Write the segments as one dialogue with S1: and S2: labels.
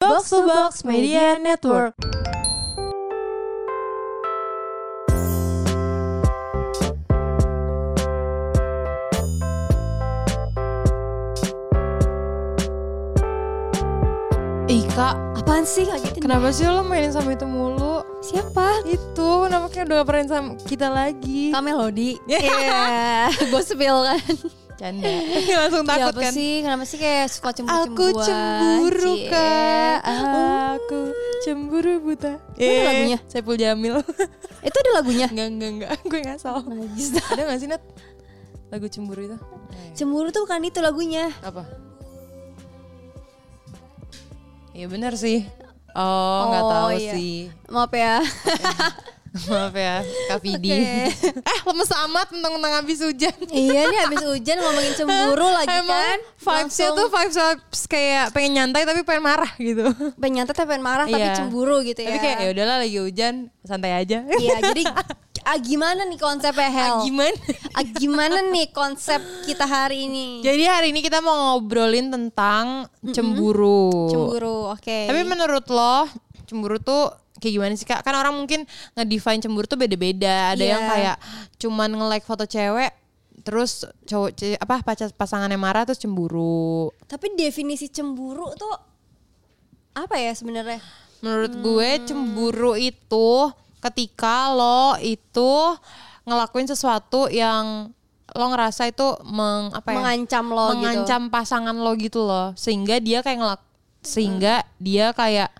S1: Box to Box Media Network.
S2: Ih kak,
S3: Apaan sih ngagetin?
S1: Kenapa sih lo mainin sama itu mulu?
S3: Siapa?
S1: Itu kenapa kayak udah gak pernah sama kita lagi?
S3: Kak Melody. Iya, gue spill kan.
S1: Canda. Langsung takut
S3: Iya, apa
S1: kan?
S3: sih? Kenapa sih kayak suka cemburu-cemburuan?
S1: Aku cemburu
S3: Cie.
S1: kak. Oh.
S3: Ah.
S1: Aku cemburu buta.
S3: ada lagunya?
S1: Saipul Jamil.
S3: Itu ada lagunya.
S1: enggak enggak enggak. Gue ngasal.
S3: Najis.
S1: Ada gak sih Nat? Lagu cemburu itu?
S3: Cemburu tuh bukan itu lagunya.
S1: Apa? Iya benar sih. Oh, nggak
S3: Oh,
S1: tahu
S3: iya.
S1: sih.
S3: Maaf ya.
S1: Maaf ya, Kak Vidi.
S3: Oke.
S1: eh, lemes amat tentang-tentang habis hujan.
S3: iya nih habis hujan ngomongin cemburu lagi kan.
S1: vibes-nya tuh vibes, vibes kayak pengen nyantai tapi pengen marah gitu.
S3: pengen nyantet pengen marah tapi
S1: Iya.
S3: cemburu gitu ya.
S1: Tapi kayak ya udahlah lagi hujan, santai aja.
S3: Iya, jadi ah, gimana nih konsepnya Hel?
S1: Ah, Gimana?
S3: Ah, gimana nih konsep kita hari ini?
S1: Jadi hari ini kita mau ngobrolin tentang cemburu.
S3: Cemburu, oke.
S1: Tapi menurut lo, cemburu tuh kayak gimana sih kak? Kan orang mungkin ngedefine cemburu tuh beda-beda. Ada
S3: Iya.
S1: yang kayak cuman nge-like foto cewek, terus cowok ce- apa pacar pasangannya marah terus cemburu.
S3: Tapi definisi cemburu tuh apa ya sebenarnya?
S1: Menurut gue
S3: Hmm.
S1: cemburu itu ketika lo itu ngelakuin sesuatu yang lo ngerasa itu meng apa ya?
S3: Mengancam lo gitu.
S1: mengancam pasangan lo gitu loh. Sehingga dia kayak ngelak sehingga
S3: Hmm.
S1: dia kayak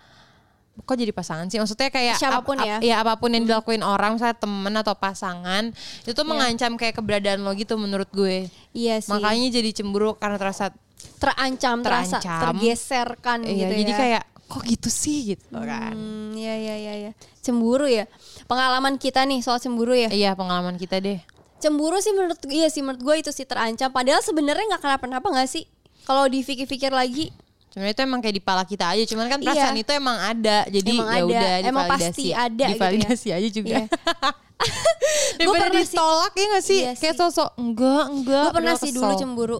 S1: kok jadi pasangan sih? Maksudnya kayak
S3: Siapapun ya.
S1: ya apapun yang dilakuin orang misalnya temen atau pasangan itu tuh mengancam kayak keberadaan lo gitu menurut gue.
S3: Iya sih.
S1: Makanya jadi cemburu karena terasa
S3: terancam, terasa
S1: Terancam.
S3: tergeserkan
S1: iya,
S3: gitu
S1: jadi
S3: ya.
S1: kayak kok gitu sih gitu kan.
S3: Hmm, iya iya iya iya. Cemburu ya. Pengalaman kita nih soal cemburu ya.
S1: Iya pengalaman kita deh.
S3: Cemburu sih menurut iya sih menurut gue itu sih terancam. Padahal sebenarnya nggak kenapa-napa nggak sih? Kalau dipikir-pikir lagi
S1: Sebenarnya itu emang kayak di pala kita aja, cuman kan perasaan
S3: Iya.
S1: itu emang ada. Jadi
S3: Emang
S1: ya
S3: ada,
S1: udah
S3: emang
S1: divalidasi.
S3: pasti ada gitu ya.
S1: Divalidasi aja juga.
S3: Iya. Gue
S1: Daripada
S3: pernah sih-
S1: ditolak ya gak sih?
S3: Iya
S1: kayak
S3: sih.
S1: sosok enggak, enggak.
S3: gue pernah
S1: padahal
S3: sih
S1: kesel.
S3: dulu cemburu.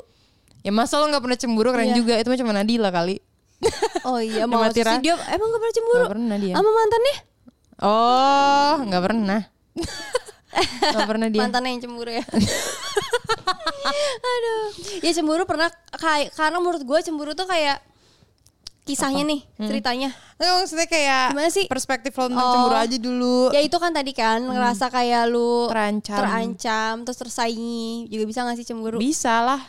S1: Ya masa lo gak pernah cemburu keren
S3: Iya.
S1: juga, itu mah cuma Nadila kali.
S3: Oh iya,
S1: Dia
S3: mau
S1: mati
S3: sih
S1: rasa.
S3: dia emang gak pernah cemburu?
S1: Nggak pernah dia.
S3: Sama mantannya?
S1: Oh, gak pernah. gak pernah dia.
S3: Mantannya yang cemburu ya. Aduh. Ya cemburu pernah kayak karena menurut gue cemburu tuh kayak kisahnya nih, ceritanya.
S1: Nggak, maksudnya kayak
S3: Gimana sih?
S1: perspektif lo tentang
S3: Oh.
S1: cemburu aja dulu.
S3: Ya itu kan tadi kan ngerasa kayak lu
S1: Terancam.
S3: terancam, terus tersaingi, juga bisa gak sih cemburu?
S1: Bisa lah.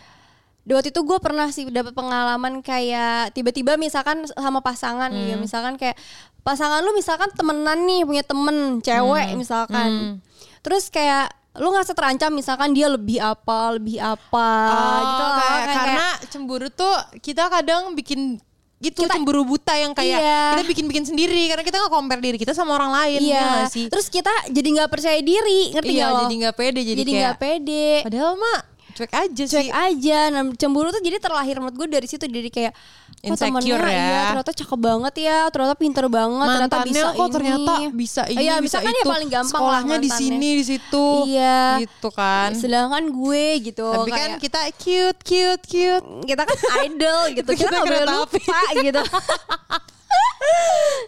S3: Di waktu itu gue pernah sih dapat pengalaman kayak tiba-tiba misalkan sama pasangan ya,
S1: Hmm.
S3: misalkan kayak pasangan lu misalkan temenan nih punya temen
S1: Hmm.
S3: cewek misalkan, terus kayak lu ngerasa terancam misalkan dia lebih apa lebih apa
S1: Oh,
S3: gitu loh,
S1: kayak-
S3: kayak-
S1: karena cemburu tuh kita kadang bikin gitu
S3: Kita-
S1: cemburu buta yang kayak
S3: Iya.
S1: kita bikin-bikin sendiri karena kita nggak compare diri kita sama orang lain ya
S3: iya
S1: nggak sih?
S3: terus kita jadi nggak percaya diri ngerti
S1: iya
S3: nggak lo
S1: jadi nggak pede jadi,
S3: jadi
S1: kayak
S3: nggak pede
S1: padahal mah cuek aja sih.
S3: cuek aja nah, cemburu tuh jadi terlahir menurut gue dari situ jadi kayak kok
S1: Insecure
S3: temennya
S1: ya.
S3: iya, ternyata cakep banget ya ternyata pinter banget ternyata
S1: Mantannya
S3: bisa
S1: kok
S3: ini
S1: ternyata bisa ini
S3: iya,
S1: bisa
S3: bisa kan
S1: itu.
S3: ya paling gampang lah
S1: Sekolahnya di
S3: mantannya.
S1: sini di situ.
S3: iya
S1: Gitu kan.
S3: sedangkan gue gitu
S1: Tapi kan
S3: kayak-
S1: kita cute cute cute.
S3: kita kan idol gitu kita,
S1: Kita
S3: nggak boleh
S1: kereta api.
S3: lupa gitu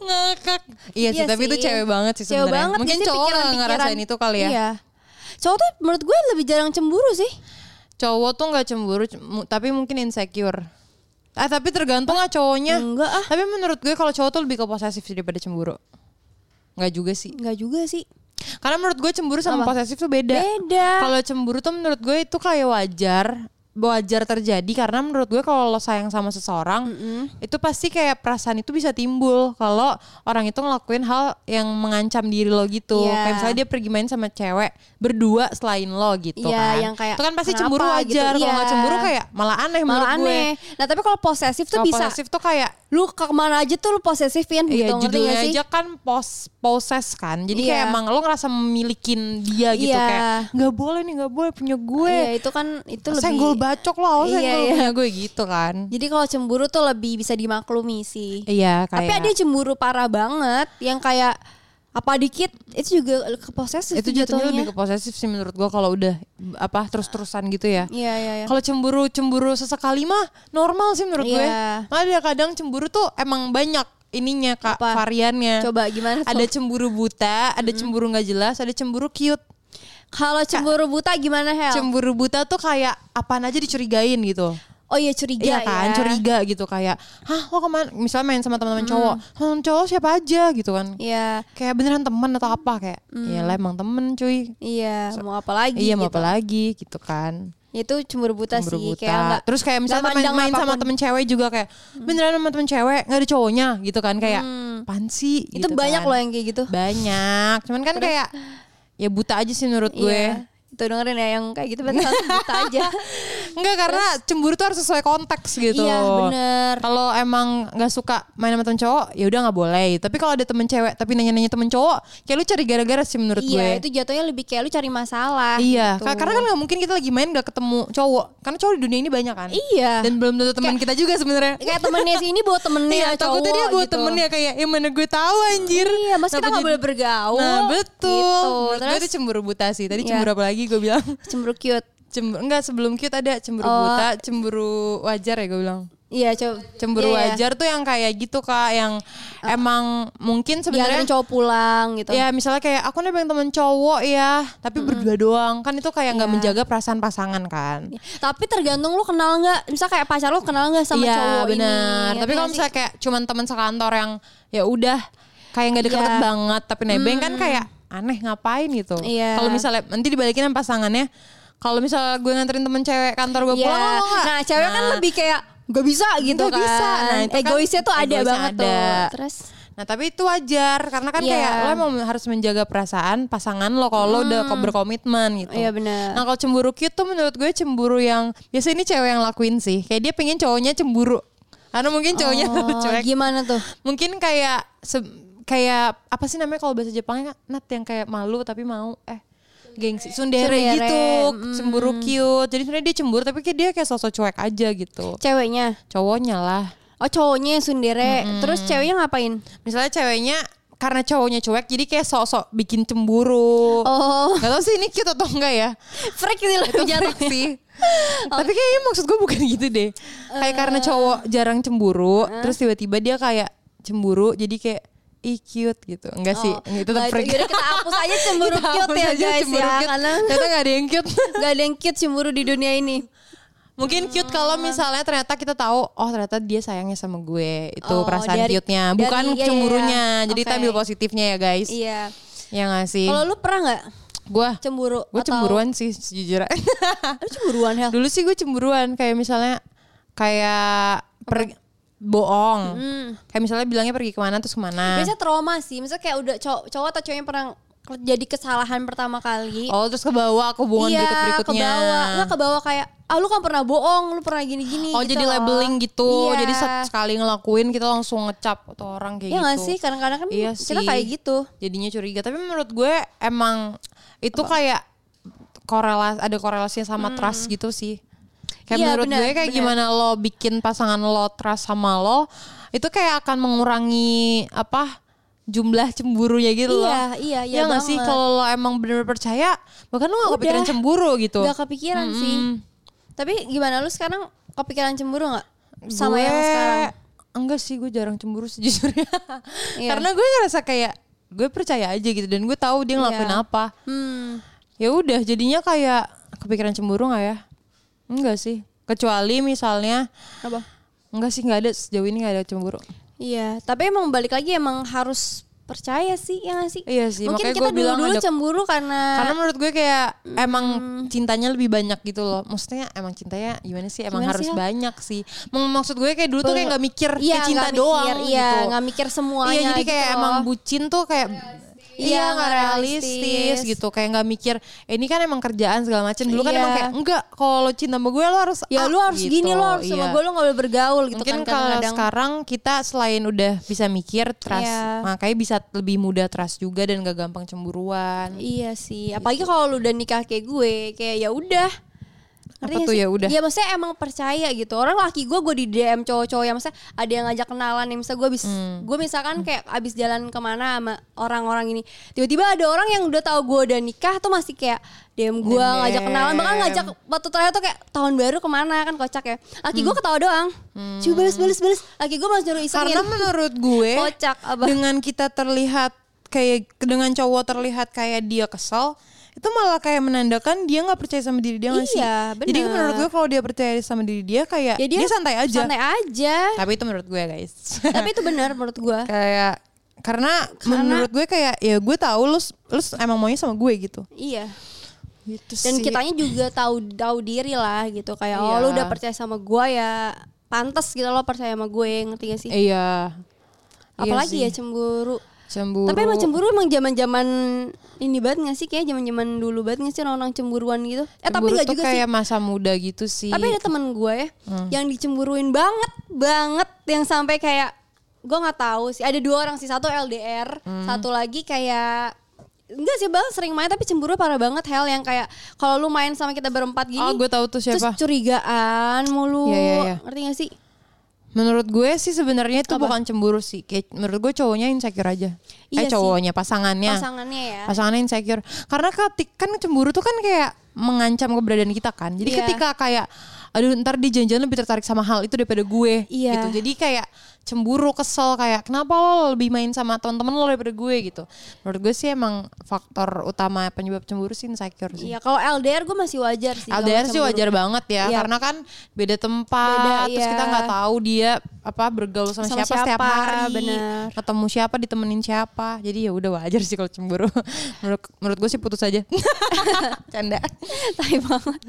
S1: Ngakak. Iya, sih,
S3: Iya
S1: tapi itu cewek banget sih
S3: Cewek
S1: sebenarnya.
S3: banget
S1: Mungkin
S3: biasanya
S1: cowok nggak
S3: pikiran-pikiran.
S1: ngerasain itu kali ya.
S3: Iya. Cowok tuh menurut gue lebih jarang cemburu sih.
S1: Cowok tuh nggak cemburu, c- mu- tapi mungkin insecure. Ah, tapi tergantung lah cowoknya.
S3: Enggak ah.
S1: Tapi menurut gue kalau cowok tuh lebih ke posesif sih daripada cemburu. Nggak juga sih.
S3: Enggak juga sih.
S1: Karena menurut gue cemburu sama posesif tuh beda.
S3: Beda.
S1: Kalau cemburu tuh menurut gue itu kayak wajar wajar terjadi karena menurut gue kalau lo sayang sama seseorang itu pasti kayak perasaan itu bisa timbul kalau orang itu ngelakuin hal yang mengancam diri lo gitu
S3: Iya.
S1: kayak misalnya dia pergi main sama cewek berdua selain lo gitu
S3: Iya,
S1: kan
S3: yang kayak,
S1: itu kan pasti
S3: kenapa
S1: cemburu wajar
S3: gitu,
S1: kalau
S3: iya.
S1: nggak cemburu kayak malah aneh menurut
S3: Malah
S1: gue
S3: aneh. Nah tapi kalau posesif tuh
S1: Kalau
S3: bisa.
S1: posesif tuh kayak
S3: Lu ke kemana aja tuh lu posesifin gitu.
S1: Iya
S3: ngerti
S1: judulnya
S3: nggak sih?
S1: aja kan pos poses kan Jadi kayak
S3: Iya.
S1: emang lo ngerasa memilikin dia gitu
S3: Iya.
S1: Kayak nggak boleh nih nggak boleh punya gue
S3: Iya itu kan itu lebih.
S1: Senggol bacok lo awas
S3: Iya,
S1: senggol
S3: iya.
S1: punya gue gitu kan
S3: Jadi kalau cemburu tuh lebih bisa dimaklumi sih.
S1: Iya kayak
S3: Tapi ada cemburu parah banget yang kayak apa dikit itu juga ke posesif
S1: Itu
S3: tuh
S1: jatuhnya lebih ke posesif sih menurut gue Kalau udah mm, apa terus-terusan gitu ya
S3: Iya iya iya.
S1: Kalau cemburu-cemburu sesekali mah normal sih menurut
S3: Iya.
S1: gue. Malah dia kadang cemburu tuh emang banyak. ininya kak
S3: Apa?
S1: variannya.
S3: Coba gimana tuh?
S1: Ada cemburu buta, ada cemburu nggak jelas, ada cemburu cute.
S3: Kalau cemburu buta gimana Hel?
S1: Cemburu buta tuh kayak apaan aja dicurigain gitu.
S3: oh iya curiga
S1: Iya kan,
S3: ya.
S1: curiga gitu kayak, hah lo kemana? Misalnya main sama teman-teman cowok, teman cowok siapa aja gitu kan?
S3: Iya.
S1: Kayak beneran temen atau apa kayak? Ya lah emang temen cuy.
S3: Iya, mau apa lagi?
S1: iya mau
S3: Hmm. gitu.
S1: apa lagi gitu kan?
S3: Itu cemburu buta sih,
S1: Cemburu buta.
S3: kayak nggak-
S1: Terus kayak misalnya
S3: nggak
S1: main,
S3: mandang
S1: main sama
S3: apapun. Hmm.
S1: temen cewek juga kayak, beneran sama temen cewek nggak ada cowoknya gitu kan? Kayak pansi.
S3: Itu banyak loh yang kayak gitu.
S1: kan. Banyak. Cuman kan kayak ya buta aja sih menurut gue.
S3: Iya. Tuh dengerin ya yang kayak gitu berarti satu buta aja.
S1: Enggak karena cemburu tuh harus sesuai konteks gitu.
S3: Iya, bener.
S1: Kalau emang nggak suka main sama temen cowok, ya udah nggak boleh. Tapi kalau ada temen cewek tapi nanya-nanya temen cowok, kayak lu cari gara-gara sih menurut
S3: iya,
S1: gue.
S3: itu jatuhnya lebih kayak lu cari masalah.
S1: Iya,
S3: gitu.
S1: ka- karena kan nggak mungkin kita lagi main nggak ketemu cowok. Karena cowok di dunia ini banyak kan.
S3: Iya.
S1: Dan belum tentu teman kita juga sebenarnya.
S3: kayak temennya sini bawa temennya
S1: Iya, takutnya dia buat
S3: gitu.
S1: temennya kayak, ya mana gue tahu anjir.
S3: Iya, mas kita
S1: Kenapa
S3: nggak
S1: jadi-
S3: boleh bergaul.
S1: Nah betul. Nah,
S3: Gitu.
S1: Menurut Gue
S3: Terus
S1: itu cemburu buta sih. Tadi
S3: Iya.
S1: cemburu apa lagi gue bilang?
S3: cemburu cute.
S1: Cemburu, enggak sebelum cute ada cemburu
S3: Oh.
S1: buta, cemburu wajar ya gue bilang.
S3: Iya, coba
S1: cemburu
S3: iya, iya.
S1: wajar tuh yang kayak gitu kak yang emang mungkin
S3: Biarin
S1: sebenarnya
S3: cowok pulang gitu.
S1: ya misalnya kayak aku nih pengen temen cowok ya tapi berdua doang kan itu kayak nggak
S3: Iya.
S1: menjaga perasaan pasangan kan
S3: Tapi tergantung lu kenal nggak, misal kayak pacar lu kenal nggak sama
S1: Iya,
S3: cowok ini.
S1: benar
S3: ngerti
S1: tapi
S3: nggak
S1: kalau
S3: sih?
S1: misalnya kayak cuman teman sekantor yang ya udah kayak nggak deket
S3: Iya. Hmm.
S1: banget tapi nebeng kan kayak aneh ngapain gitu
S3: Iya.
S1: kalau misalnya nanti dibalikin sama pasangannya kalau misalnya gue nganterin temen cewek kantor gue
S3: Iya.
S1: pulang lo mau nggak?
S3: Nah, cewek kan lebih kayak gak bisa gitu
S1: Nggak
S3: kan.
S1: bisa. Nah, itu kan
S3: egoisnya tuh ada
S1: egoisnya
S3: banget
S1: ada.
S3: tuh. Terus
S1: Nah tapi itu wajar karena kan
S3: Iya.
S1: kayak lo emang harus menjaga perasaan pasangan lo kalau lo udah ko- berkomitmen gitu.
S3: Hmm. Iya, benar.
S1: Nah kalau cemburu cute tuh menurut gue cemburu yang biasa ini cewek yang lakuin sih. Kayak dia pengen cowoknya cemburu karena mungkin cowoknya
S3: oh,
S1: cuek.
S3: gimana tuh?
S1: Mungkin kayak se- kayak apa sih namanya kalau bahasa Jepangnya nat yang kayak malu tapi mau eh gengsi sundere,
S3: Tsundere,
S1: gitu
S3: mm.
S1: cemburu cute jadi sebenarnya dia cemburu tapi kayak dia kayak sosok cuek aja gitu
S3: Ceweknya.
S1: cowoknya lah
S3: Oh, cowoknya yang sundere. Terus ceweknya ngapain?
S1: misalnya ceweknya karena cowoknya cuek jadi kayak sok-sok bikin cemburu
S3: Oh,
S1: Gak tau sih ini cute atau enggak ya
S3: freak gitu lah.
S1: Itu
S3: jatuh.
S1: freak sih
S3: Oh.
S1: Tapi kayaknya maksud gue bukan gitu deh Kayak karena
S3: Eh.
S1: cowok jarang cemburu Terus tiba-tiba dia kayak cemburu Jadi kayak Ih cute gitu Enggak sih
S3: Oh,
S1: Itu tetap
S3: nah,
S1: freak
S3: yaudah kita hapus aja cemburu
S1: Kita
S3: cute
S1: hapus
S3: ya
S1: aja
S3: guys
S1: cemburu
S3: ya.
S1: cute.
S3: Karena
S1: Ternyata gak ada yang cute
S3: gak ada yang cute cemburu di dunia ini.
S1: Mungkin
S3: Hmm.
S1: cute kalau misalnya ternyata kita tahu Oh ternyata dia sayangnya sama gue Itu
S3: Oh,
S1: perasaan
S3: dari-
S1: cute-nya Bukan
S3: dari- iya, iya,
S1: cemburunya
S3: iya.
S1: Jadi kita
S3: Oke.
S1: ambil positifnya ya guys
S3: Iya.
S1: Ya gak sih
S3: Kalau lu pernah nggak
S1: Gue
S3: cemburu?
S1: Gue
S3: Atau- Iya.
S1: cemburuan sih sejujurnya
S3: Lu cemburuan Hel?
S1: Dulu sih gue cemburuan kayak misalnya kayak per bohong.
S3: Hmm.
S1: Kayak misalnya bilangnya pergi kemana terus kemana.
S3: Biasanya trauma sih. Misalnya kayak udah cowok, cowok atau cowok yang pernah ke- jadi kesalahan pertama kali.
S1: Oh terus ke bawah ke hubungan berikut berikutnya.
S3: Iya, kebawa. Nggak kebawa kayak, ah lu kan pernah bohong, lu pernah gini-gini.
S1: Oh
S3: gitu
S1: jadi
S3: loh.
S1: labeling gitu.
S3: Iya.
S1: Jadi se- sekali ngelakuin kita langsung ngecap atau orang kayak
S3: Iya
S1: gitu.
S3: nggak sih? Kadang-kadang kan
S1: Iya
S3: kita
S1: sih.
S3: kayak gitu.
S1: Jadinya curiga. Tapi menurut gue emang itu kayak korelas ada korelasinya sama trust gitu sih. Kayak
S3: Hmm. Iya,
S1: menurut
S3: benar,
S1: gue kayak
S3: benar.
S1: gimana lo bikin pasangan lo trust sama lo itu kayak akan mengurangi apa jumlah cemburunya gitu loh.
S3: Iya, iya, iya
S1: nggak sih
S3: banget.
S1: kalau lo emang bener-bener percaya, bahkan lo gak
S3: Udah.
S1: kepikiran cemburu gitu.
S3: Nggak kepikiran sih. Tapi gimana lu sekarang kepikiran cemburu nggak? Sama
S1: Gue-
S3: yang sekarang.
S1: Enggak sih, gue jarang cemburu sejujurnya.
S3: Iya.
S1: Karena gue ngerasa kayak gue percaya aja gitu dan gue tahu dia ngelakuin
S3: Iya.
S1: apa.
S3: Hmm.
S1: ya udah jadinya kayak kepikiran cemburu nggak ya enggak sih kecuali misalnya
S3: Apa?
S1: enggak sih nggak ada sejauh ini nggak ada cemburu
S3: Iya, tapi emang balik lagi emang harus percaya sih ya nggak sih?
S1: Iya sih,
S3: Mungkin
S1: makanya
S3: kita
S1: gua bilang
S3: dulu-dulu
S1: ada-
S3: cemburu karena,
S1: karena menurut gue kayak emang cintanya lebih banyak gitu loh maksudnya emang cintanya gimana sih emang
S3: Gimana
S1: harus
S3: sih, Hel?
S1: banyak sih Mem- maksud gue kayak dulu tuh kayak nggak mikir
S3: Iya,
S1: kayak cinta
S3: nggak mikir,
S1: doang
S3: Iya,
S1: gitu
S3: nggak mikir semuanya.
S1: iya jadi
S3: gitu
S1: kayak
S3: loh.
S1: emang bucin tuh kayak
S3: Iya,
S1: Iya nggak
S3: nggak
S1: realistis
S3: realistis.
S1: gitu kayak nggak mikir "Eh, ini kan emang kerjaan segala macam dulu kan
S3: Iya.
S1: emang kayak enggak kalau lo cinta sama gue lo harus
S3: ya
S1: A,"
S3: lu harus
S1: gitu.
S3: gini lo harus
S1: Iya.
S3: sama gue lu nggak boleh bergaul gitu
S1: mungkin
S3: kan
S1: kalau
S3: kadang-kadang.
S1: sekarang kita selain udah bisa mikir trust
S3: Iya.
S1: makanya bisa lebih mudah trust juga dan gak gampang cemburuan
S3: Iya sih, apalagi kalau lu udah nikah kayak gue, kayak ya udah.
S1: Apa
S3: Ngerti nggak
S1: tuh
S3: sih?
S1: ya udah?
S3: Iya maksudnya emang percaya gitu. Orang laki gue gue di DM cowok-cowok yang maksudnya ada yang ngajak kenalan nih. Misalnya gue abis,
S1: Hmm.
S3: gue misalkan kayak abis jalan kemana sama orang-orang ini. Tiba-tiba ada orang yang udah tahu gue udah nikah tuh masih kayak DM gue
S1: DM.
S3: ngajak kenalan. Bahkan ngajak waktu terakhir tuh kayak tahun baru kemana kan kocak ya. Laki
S1: Hmm.
S3: gue ketawa doang. Coba balas balas balas. Laki gue masih nyuruh isengin.
S1: Karena menurut gue
S3: Kocak, apa?
S1: dengan kita terlihat kayak dengan cowok terlihat kayak dia kesal itu malah kayak menandakan dia nggak percaya sama diri dia nggak sih?
S3: Iya,
S1: Jadi
S3: benar.
S1: menurut gue kalau dia percaya sama diri dia kayak Eh,
S3: Ya
S1: dia, santai aja.
S3: Santai aja.
S1: Tapi itu menurut gue guys.
S3: Tapi itu benar menurut gue.
S1: kayak karena, menurut gue kayak ya gue tahu lu lu emang maunya sama gue gitu.
S3: Iya.
S1: Gitu
S3: dan
S1: sih.
S3: kitanya juga tahu tahu diri lah gitu kayak
S1: Iya.
S3: oh lu udah percaya sama gua ya pantas gitu lo percaya sama gue ngerti gak sih
S1: Iya.
S3: apalagi
S1: Iya
S3: ya cemburu
S1: sih. cemburu.
S3: tapi emang cemburu emang zaman zaman ini banget gak sih kayak zaman zaman dulu banget gak sih orang-orang cemburuan gitu eh tapi
S1: Cemburu
S3: gak
S1: tuh
S3: juga sih
S1: kayak masa muda gitu Hmm. sih.
S3: tapi ada temen gue ya yang dicemburuin banget banget yang sampai kayak gue nggak tahu sih ada dua orang sih satu LDR
S1: Hmm.
S3: satu lagi kayak enggak sih bang sering main tapi cemburu parah banget hell yang kayak kalau lu main sama kita berempat gini
S1: oh, gue tahu tuh siapa.
S3: Terus curigaan mulu.
S1: Iya, iya, iya.
S3: Ngerti gak sih?
S1: Menurut gue sih sebenarnya itu
S3: Apa?
S1: bukan cemburu sih. Kayak menurut gue cowoknya insecure aja.
S3: Iya
S1: eh
S3: sih.
S1: cowoknya pasangannya.
S3: Pasangannya ya.
S1: Pasangannya insecure. Karena ketik kan cemburu tuh kan kayak mengancam keberadaan kita kan. Jadi
S3: Iya.
S1: ketika kayak aduh ntar dia janjian lebih tertarik sama hal itu daripada gue
S3: Iya.
S1: gitu. Jadi kayak cemburu kesel kayak kenapa lo lebih main sama teman-teman lo daripada gue gitu. Menurut gue sih emang faktor utama penyebab cemburu sih insecure sih.
S3: Iya, kalau LDR gue masih wajar sih. kalau
S1: LDR sih
S3: cemburu.
S1: wajar banget ya,
S3: Iya.
S1: karena kan beda tempat,
S3: Beda,
S1: terus
S3: iya.
S1: kita nggak tahu dia apa bergaul sama,
S3: Sama
S1: siapa, setiap
S3: siapa,
S1: hari,
S3: bener.
S1: ketemu siapa, ditemenin siapa, jadi ya udah wajar sih kalau cemburu. menurut menurut gue sih putus aja. Canda.
S3: Tai banget.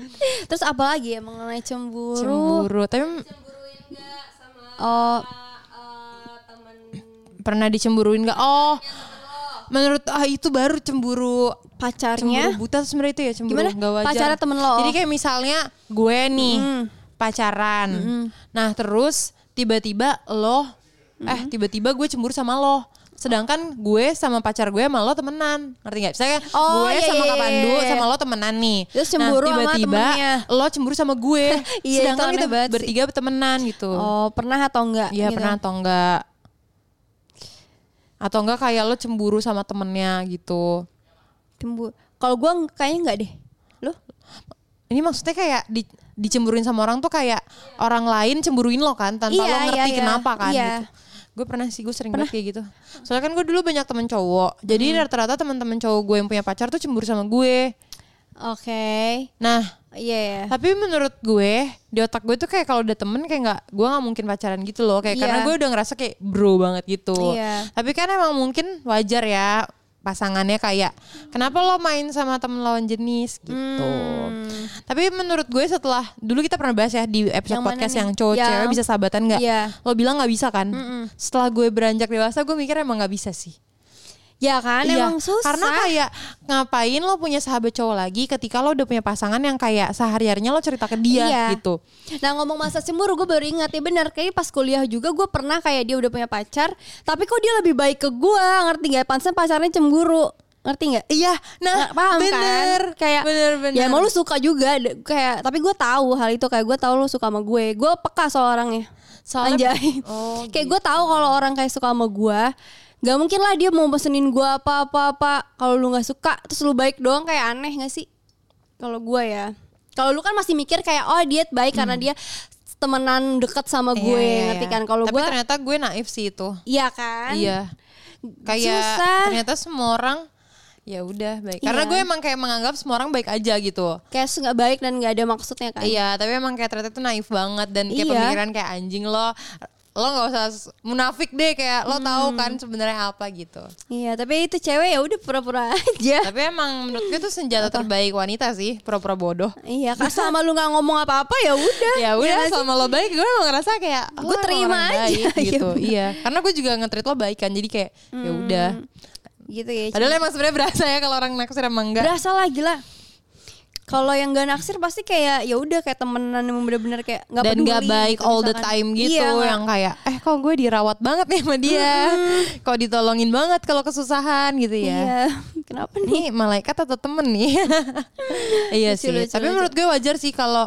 S3: Terus apa lagi ya mengenai cemburu?
S1: Cemburu, tapi
S3: Oh,
S1: pernah dicemburuin nggak? Oh, menurut ah itu baru cemburu
S3: pacarnya.
S1: cemburu buta tuh sebenarnya itu ya cemburu
S3: Gimana?
S1: nggak wajar.
S3: Pacarnya temen lo?
S1: Jadi kayak misalnya gue nih pacaran, nah terus tiba-tiba lo, eh tiba-tiba gue cemburu sama lo. Sedangkan gue sama pacar gue sama lo temenan, ngerti nggak? Misalnya
S3: Oh,
S1: gue
S3: iya,
S1: sama
S3: iya,
S1: Kak Pandu
S3: iya, iya.
S1: sama lo temenan nih.
S3: Terus cemburu
S1: nah,
S3: sama
S1: tiba-tiba
S3: temennya.
S1: lo cemburu sama gue.
S3: Iya, itu
S1: Sedangkan
S3: aneh
S1: kita
S3: banget sih.
S1: bertiga temenan gitu.
S3: Oh, pernah atau enggak?
S1: Iya
S3: gitu.
S1: pernah atau enggak atau enggak kayak lo cemburu sama temennya gitu
S3: Cemburu. Kalau gue kayaknya enggak deh. Lo?
S1: ini maksudnya kayak di- dicemburuin sama orang tuh kayak orang lain cemburuin lo kan tanpa
S3: Iya,
S1: lo ngerti
S3: iya, iya.
S1: kenapa kan
S3: Iya.
S1: gitu. Gue pernah sih gue sering banget kayak gitu. Soalnya kan gue dulu banyak temen cowok. Jadi
S3: Hmm.
S1: rata-rata teman-teman cowok gue yang punya pacar tuh cemburu sama gue.
S3: Oke.
S1: Nah,
S3: Iya ya.
S1: tapi menurut gue di otak gue tuh kayak kalau udah temen kayak nggak gue nggak mungkin pacaran gitu loh kayak
S3: Iya.
S1: karena gue udah ngerasa kayak bro banget gitu
S3: Iya.
S1: tapi kan emang mungkin wajar ya pasangannya kayak kenapa lo main sama temen lawan jenis gitu tapi menurut gue setelah dulu kita pernah bahas ya di episode
S3: Hmm. Yang mana
S1: podcast
S3: nih?
S1: yang cowok
S3: Yang-
S1: cewek bisa sahabatan nggak
S3: Iya.
S1: lo bilang nggak bisa kan setelah gue beranjak dewasa gue mikir emang nggak bisa sih
S3: Ya kan
S1: Iya,
S3: emang susah.
S1: Karena kayak ngapain lo punya sahabat cowok lagi ketika lo udah punya pasangan yang kayak sehari-harinya lo cerita ke dia
S3: Iya.
S1: gitu.
S3: Nah ngomong masa cemburu gue baru ingat ya benar kayak pas kuliah juga gue pernah kayak dia udah punya pacar tapi kok dia lebih baik ke gue ngerti nggak? Pansen pacarnya cemburu ngerti nggak?
S1: Iya, nah,
S3: Nggak paham
S1: bener
S3: kan? Kayak
S1: bener bener. Iya,
S3: ya emang lu suka juga d- kayak tapi gue tahu hal itu kayak gue tahu lu suka sama gue gue peka soal orangnya
S1: Soalnya-
S3: Anjay.
S1: Oh,
S3: kayak gue tahu kalau orang kayak suka sama gue nggak mungkin lah dia mau pesenin gue apa apa apa kalau lu nggak suka terus lu baik doang kayak aneh nggak sih kalau gue ya kalau lu kan masih mikir kayak oh dia baik karena dia temenan deket sama gue
S1: Hmm. Iya, iya,
S3: ngerti
S1: iya.
S3: kan kalau
S1: Tapi
S3: gue
S1: ternyata gue naif sih itu.
S3: iya kan
S1: Iya. Kayak
S3: Susah.
S1: ternyata semua orang ya udah baik. Karena
S3: Iya.
S1: gue emang kayak menganggap semua orang baik aja gitu.
S3: kayak nggak baik dan nggak ada maksudnya kan
S1: Iya, tapi emang kayak ternyata itu naif banget dan kayak
S3: Iya.
S1: pemikiran kayak anjing lo lo nggak usah s- munafik deh kayak
S3: Hmm.
S1: lo tahu kan sebenarnya apa gitu.
S3: Iya, tapi itu cewek ya udah pura-pura aja
S1: Tapi emang menurut gue itu senjata terbaik wanita sih, pura-pura bodoh.
S3: Iya, kan sama lu nggak ngomong apa-apa ya udah.
S1: Ya udah sama lo baik gue emang ngerasa kayak
S3: Gue
S1: "Lo emang
S3: terima
S1: orang
S3: aja."
S1: baik,
S3: Iya,
S1: gitu.
S3: bener.
S1: iya. Karena gue juga nge-treat lo baik kan. Jadi kayak ya udah.
S3: Gitu ya.
S1: Padahal emang sebenarnya berasa ya kalau orang naksir emang enggak.
S3: Berasa lah gila. Kalau yang gak naksir pasti kayak ya udah kayak temenan yang bener-bener kayak nggak
S1: dan
S3: peduli
S1: gak baik
S3: gitu,
S1: all the
S3: misalkan.
S1: time gitu
S3: Iya, nggak-
S1: yang kayak eh kok gue dirawat banget nih sama dia kok ditolongin banget kalau kesusahan gitu ya
S3: Iya. Kenapa nih?
S1: ini malaikat atau temen nih iya
S3: Lucu,
S1: sih
S3: lucu,
S1: tapi
S3: lucu.
S1: menurut gue wajar sih kalau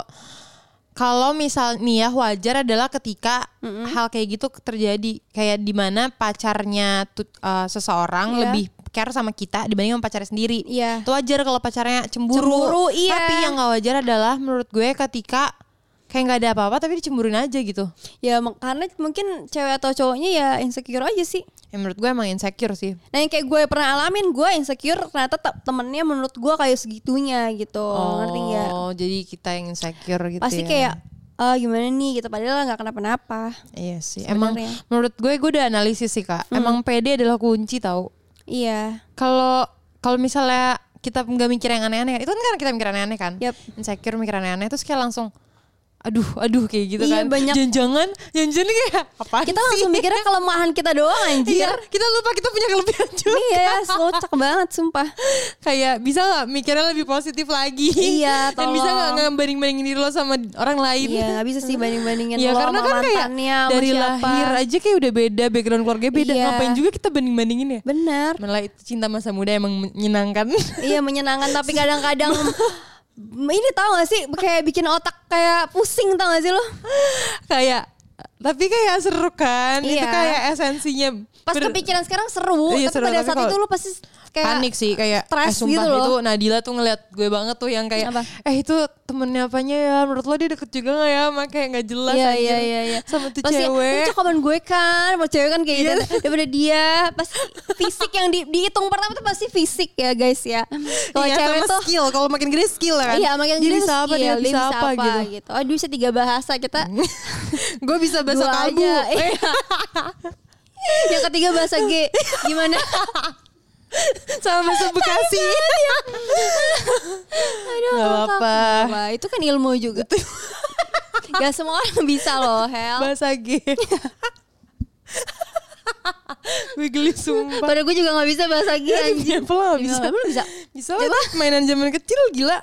S1: kalau misal nih ya wajar adalah ketika hal kayak gitu terjadi kayak dimana pacarnya tut- eh, seseorang
S3: Iya.
S1: lebih care sama kita dibanding sama pacarnya sendiri
S3: Iya.
S1: itu wajar kalau pacarnya cemburu
S3: Cemburu, iya.
S1: tapi yang gak wajar adalah menurut gue ketika kayak nggak ada apa-apa tapi dicemburuin aja gitu
S3: Ya mak- karena mungkin cewek atau cowoknya ya insecure aja sih.
S1: Ya, menurut gue emang insecure sih.
S3: Nah yang kayak gue pernah alamin gue insecure ternyata te- temennya menurut gue kayak segitunya gitu ngerti nggak?
S1: Oh, jadi kita yang insecure gitu.
S3: Pasti
S1: ya.
S3: kayak "Ah, gimana nih gitu padahal nggak kenapa-napa.
S1: Iya sih.
S3: Sebenarnya. Hmm.
S1: Emang menurut gue gue udah analisis sih kak. Emang pede adalah kunci tau.
S3: Iya.
S1: Kalau kalau misalnya kita nggak mikir yang aneh-aneh, itu kan karena kita mikir aneh-aneh kan.
S3: Yap.
S1: Insecure mikir aneh-aneh terus kayak langsung aduh aduh kayak gitu
S3: Iya,
S1: kan.
S3: banyak.
S1: Jangan-jangan jangan-jangan kayak apa Iya,
S3: Kita langsung mikirnya kelemahan kita doang anjir.
S1: kita lupa kita punya kelebihan juga.
S3: Iya, kocak banget sumpah.
S1: kayak bisa nggak mikirnya lebih positif lagi
S3: Iya,
S1: dan bisa nggak
S3: tolong.
S1: ngebanding bandingin diri lo sama orang lain
S3: Iya, nggak bisa sih banding-bandingin
S1: Iya
S3: lo
S1: karena
S3: sama
S1: kan kayak
S3: mantannya sama
S1: dari
S3: siapa.
S1: lahir aja kayak udah beda background keluarga beda
S3: Iya.
S1: ngapain juga kita banding bandingin ya
S3: Benar.
S1: malah itu cinta masa muda emang menyenangkan
S3: Iya, menyenangkan tapi kadang-kadang ini tau gak sih kayak bikin otak kayak pusing tau gak sih lo?
S1: kayak tapi kayak seru kan itu
S3: Iya.
S1: kayak esensinya
S3: Pas
S1: Ber-
S3: kepikiran sekarang seru,
S1: Iya,
S3: tapi
S1: seru,
S3: pada
S1: tapi
S3: saat
S1: kalau-
S3: itu lo pasti kayak
S1: panik sih kayak eh,
S3: stres
S1: sumpah
S3: gitu loh.
S1: itu Nadila tuh ngeliat gue banget tuh yang kayak
S3: Apa?
S1: eh itu temennya apanya ya menurut lo dia deket juga gak ya sama kayak nggak jelas
S3: Iya
S1: anjir.
S3: iya iya iya.
S1: sama tuh
S3: Pasti,
S1: cewek Iya.
S3: "Ini cakupan gue kan, mau cewek kan kayak gitu. Daripada dia pasti fisik yang di- dihitung pertama tuh pasti fisik ya guys ya. Kalau
S1: Iya,
S3: cewek
S1: sama
S3: tuh
S1: skill kalau makin gede skill ya kan
S3: Iya, makin
S1: Dia
S3: gede
S1: bisa
S3: tuh
S1: apa dia
S3: skill,
S1: bisa, apa, gitu
S3: Oh, dia bisa tiga bahasa kita.
S1: gue bisa Eh. bahasa
S3: dua
S1: kalbu
S3: aja. Iya. yang ketiga bahasa G. Gimana?
S1: sama bahasa Bekasi
S3: Aduh,
S1: Gak apa-apa.
S3: Wah, itu kan ilmu juga. Gak semua orang bisa loh, Hel.
S1: bahasa G gue geli sumpah
S3: Padahal gue juga gak bisa bahasa G anjing.
S1: Kenapa lo gak bisa?
S3: Kenapa lo bisa?
S1: Bisa lah itu mainan zaman kecil gila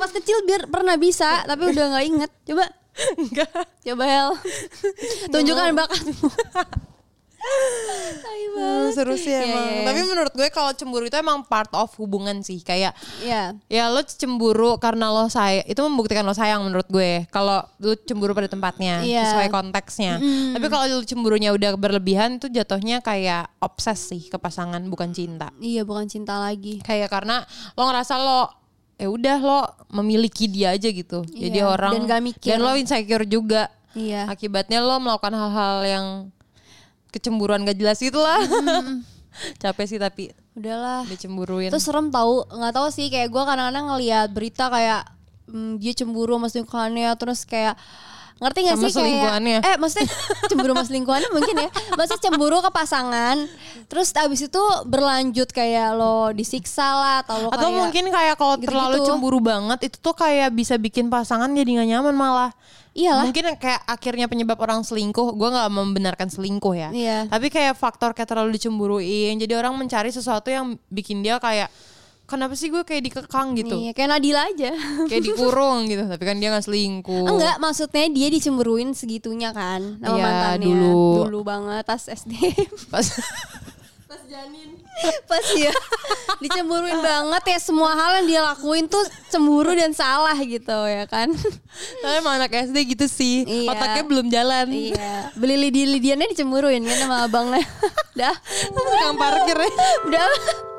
S3: Pas kecil biar pernah bisa, tapi udah gak inget. Coba,
S1: Enggak
S3: coba Hel. Tunjukkan bakatmu. Tai
S1: Hmm,
S3: banget.
S1: Seru sih
S3: Iya,
S1: emang
S3: iya, iya.
S1: Tapi menurut gue kalau cemburu itu emang part of hubungan sih Kayak
S3: Iya.
S1: Ya lo cemburu karena lo sayang Itu membuktikan lo sayang menurut gue Kalau lo cemburu pada tempatnya
S3: Iya.
S1: Sesuai konteksnya Tapi kalau lo cemburunya udah berlebihan Itu jatuhnya kayak obses sih ke pasangan Bukan cinta
S3: Iya, bukan cinta lagi.
S1: Kayak karena lo ngerasa lo ya udah lo memiliki dia aja gitu Jadi
S3: Iya,
S1: orang
S3: dan gak mikir.
S1: dan lo insecure juga
S3: Iya.
S1: Akibatnya lo melakukan hal-hal yang Kecemburuan gak jelas gitu lah
S3: Mm-hmm.
S1: Capek sih tapi
S3: Udahlah.
S1: dicemburuin
S3: Terus serem tahu, nggak tahu sih kayak gue kadang-kadang ngelihat berita kayak mm, dia cemburu sama selingkuhannya terus kayak ngerti gak
S1: Sama
S3: sih kayak
S1: selingkuhannya.
S3: eh maksudnya cemburu sama selingkuhannya mungkin ya maksudnya cemburu ke pasangan terus abis itu berlanjut kayak lo disiksa lah atau lo
S1: Atau
S3: kayak-
S1: mungkin kayak kalau
S3: gitu-gitu.
S1: terlalu cemburu banget itu tuh kayak bisa bikin pasangan jadi nggak nyaman malah.
S3: iyalah
S1: Mungkin kayak akhirnya penyebab orang selingkuh, gua nggak membenarkan selingkuh ya.
S3: Iya.
S1: Tapi kayak faktor kayak terlalu dicemburuin, jadi orang mencari sesuatu yang bikin dia kayak kenapa sih gue kayak dikekang gitu,
S3: Iya, kayak Nadila aja
S1: kayak dikurung gitu. Tapi kan dia nggak selingkuh.
S3: enggak maksudnya dia dicemburuin segitunya kan sama
S1: Iya,
S3: mantannya
S1: dulu.
S3: dulu banget pas SD
S1: Pas,
S3: pas janin pas ya dicemburuin banget ya semua hal yang dia lakuin tuh cemburu dan salah gitu ya kan
S1: tapi emang anak SD gitu sih,
S3: Iya.
S1: otaknya belum jalan.
S3: iya beli lidi lidiannya dicemburuin kan sama abangnya dah
S1: Tukang parkir ya.
S3: udah